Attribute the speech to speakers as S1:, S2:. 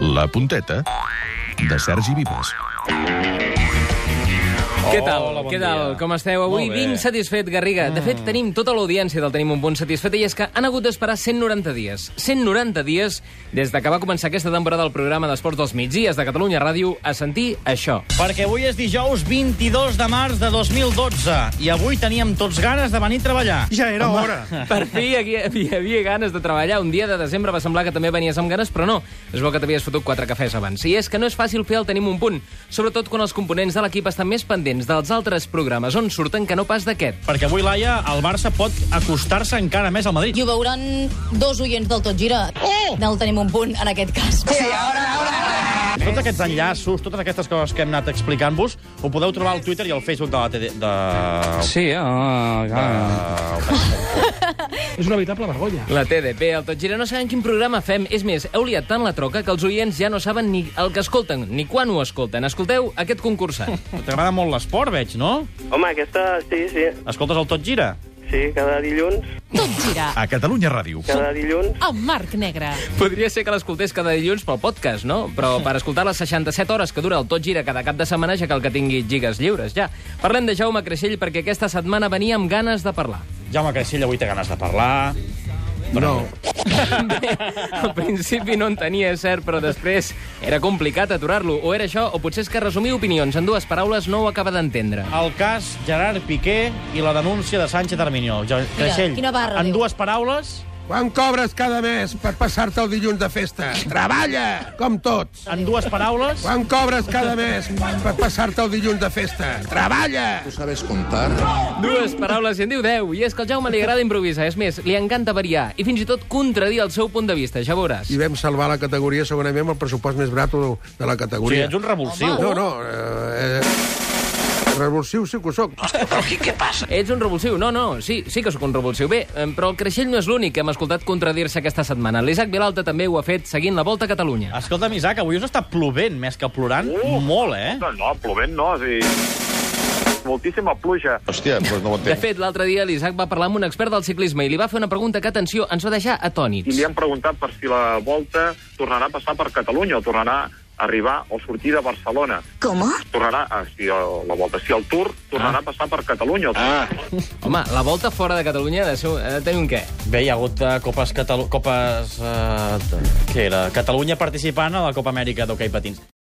S1: La punteta de Sergi Vives.
S2: Què tal?
S3: Hola, bon
S2: Què tal?
S3: dia.
S2: Com esteu? Avui
S3: Molt bé. Mm.
S2: vinc satisfet, Garriga. De fet, tenim tota l'audiència del Tenim un punt satisfet i és que han hagut d'esperar 190 dies. 190 dies des de que va començar aquesta temporada del programa d'Esports dels Migdies de Catalunya Ràdio a sentir això.
S3: Perquè avui és dijous 22 de març de 2012 i avui teníem tots ganes de venir a treballar.
S4: Ja era hora.
S2: Per fi aquí hi havia, hi havia ganes de treballar. Un dia de desembre va semblar que també venies amb ganes, però no. Es veu que t'havies fotut quatre cafès abans. I és que no és fàcil fer el Tenim un punt, sobretot quan els components de l'equip estan més pendents dels altres programes on surten que no pas d'aquest.
S3: Perquè avui, Laia, el Barça pot acostar-se encara més al Madrid.
S5: I ho veuran dos oients del Tot Gira. Oh! Del Tenim un punt, en aquest cas. Sí, ah. ara,
S3: Tots aquests enllaços, totes aquestes coses que hem anat explicant-vos, ho podeu trobar al Twitter i al Facebook de la TD... De...
S6: Sí, ah, ah.
S3: De...
S4: És una veritable vergonya.
S2: La TDP, el Tot Gira, no saben quin programa fem. És més, heu liat tant la troca que els oients ja no saben ni el que escolten, ni quan ho escolten. Escolteu aquest concursant.
S3: T'agrada molt l'esport, veig, no?
S7: Home, aquesta, sí, sí,
S3: Escoltes el Tot Gira?
S7: sí, cada dilluns,
S8: Tot gira
S1: A Catalunya Ràdio.
S7: cada dilluns.
S8: amb Marc Negre.
S2: Podria ser que l'escoltés cada dilluns pel podcast, no? Però per escoltar les 67 hores que dura el Tot Gira cada cap de setmana, ja cal que tingui gigas lliures, ja. Parlem de Jaume Creixell perquè aquesta setmana venia amb ganes de parlar.
S3: Jaume Creixell, avui té ganes de parlar.
S4: No.
S2: Bé, al principi no en tenia, és cert, però després era complicat aturar-lo. O era això, o potser és que resumir opinions en dues paraules no ho acaba d'entendre.
S3: El cas Gerard Piqué i la denúncia de Sánchez Armiñó. Jo, Creixell,
S5: quina barra,
S3: en
S5: diu.
S3: dues paraules,
S4: Quan cobres cada mes per passar-te el dilluns de festa? Treballa, com tots.
S3: en dues paraules...
S4: Quan cobres cada mes per passar-te el dilluns de festa? Treballa!
S2: Dues paraules i en diu deu. I és que al Jaume li agrada improvisar. És més, li encanta variar i fins i tot contradir el seu punt de vista. Ja veuràs.
S4: I vam salvar la categoria segurament amb el pressupost més brat de la
S3: O sigui,
S4: categoria.
S3: ets un revulsiu.
S4: No, no. Eh, eh, revulsiu sí que ho soc.
S2: Ets un revulsiu. No, no, sí, sí que sóc un revulsiu. Bé, em, però el Creixell no és l'únic que hem escoltat contradir-se aquesta setmana. L'Isaac Vilalta també ho ha fet seguint la Volta a Catalunya.
S3: Escolta'm, Isaac, avui us està plovent més que plorant. Uh. Molt, eh?
S9: No, no, plovent no, o sigui... Moltíssima pluja.
S1: Hòstia, doncs no ho
S2: De fet, l'altre dia l'Isaac va parlar amb un expert del ciclisme i li va fer una pregunta que, atenció, ens va deixar
S9: I
S2: atònits.
S9: li han preguntat per si la volta tornarà a passar per Catalunya o tornarà a arribar o sortir de Barcelona.
S5: Com?
S9: Tornarà, a, si el- la volta, si el Tour tornarà ah. a passar per Catalunya. Ah.
S2: Home, la Volta fora de Catalunya ha de, ser, un- ha de tenir un què?
S3: Bé, hi ha hagut uh, eh, copes... Catalu... copes uh, què era? Catalunya participant a la Copa Amèrica d'hoquei patins.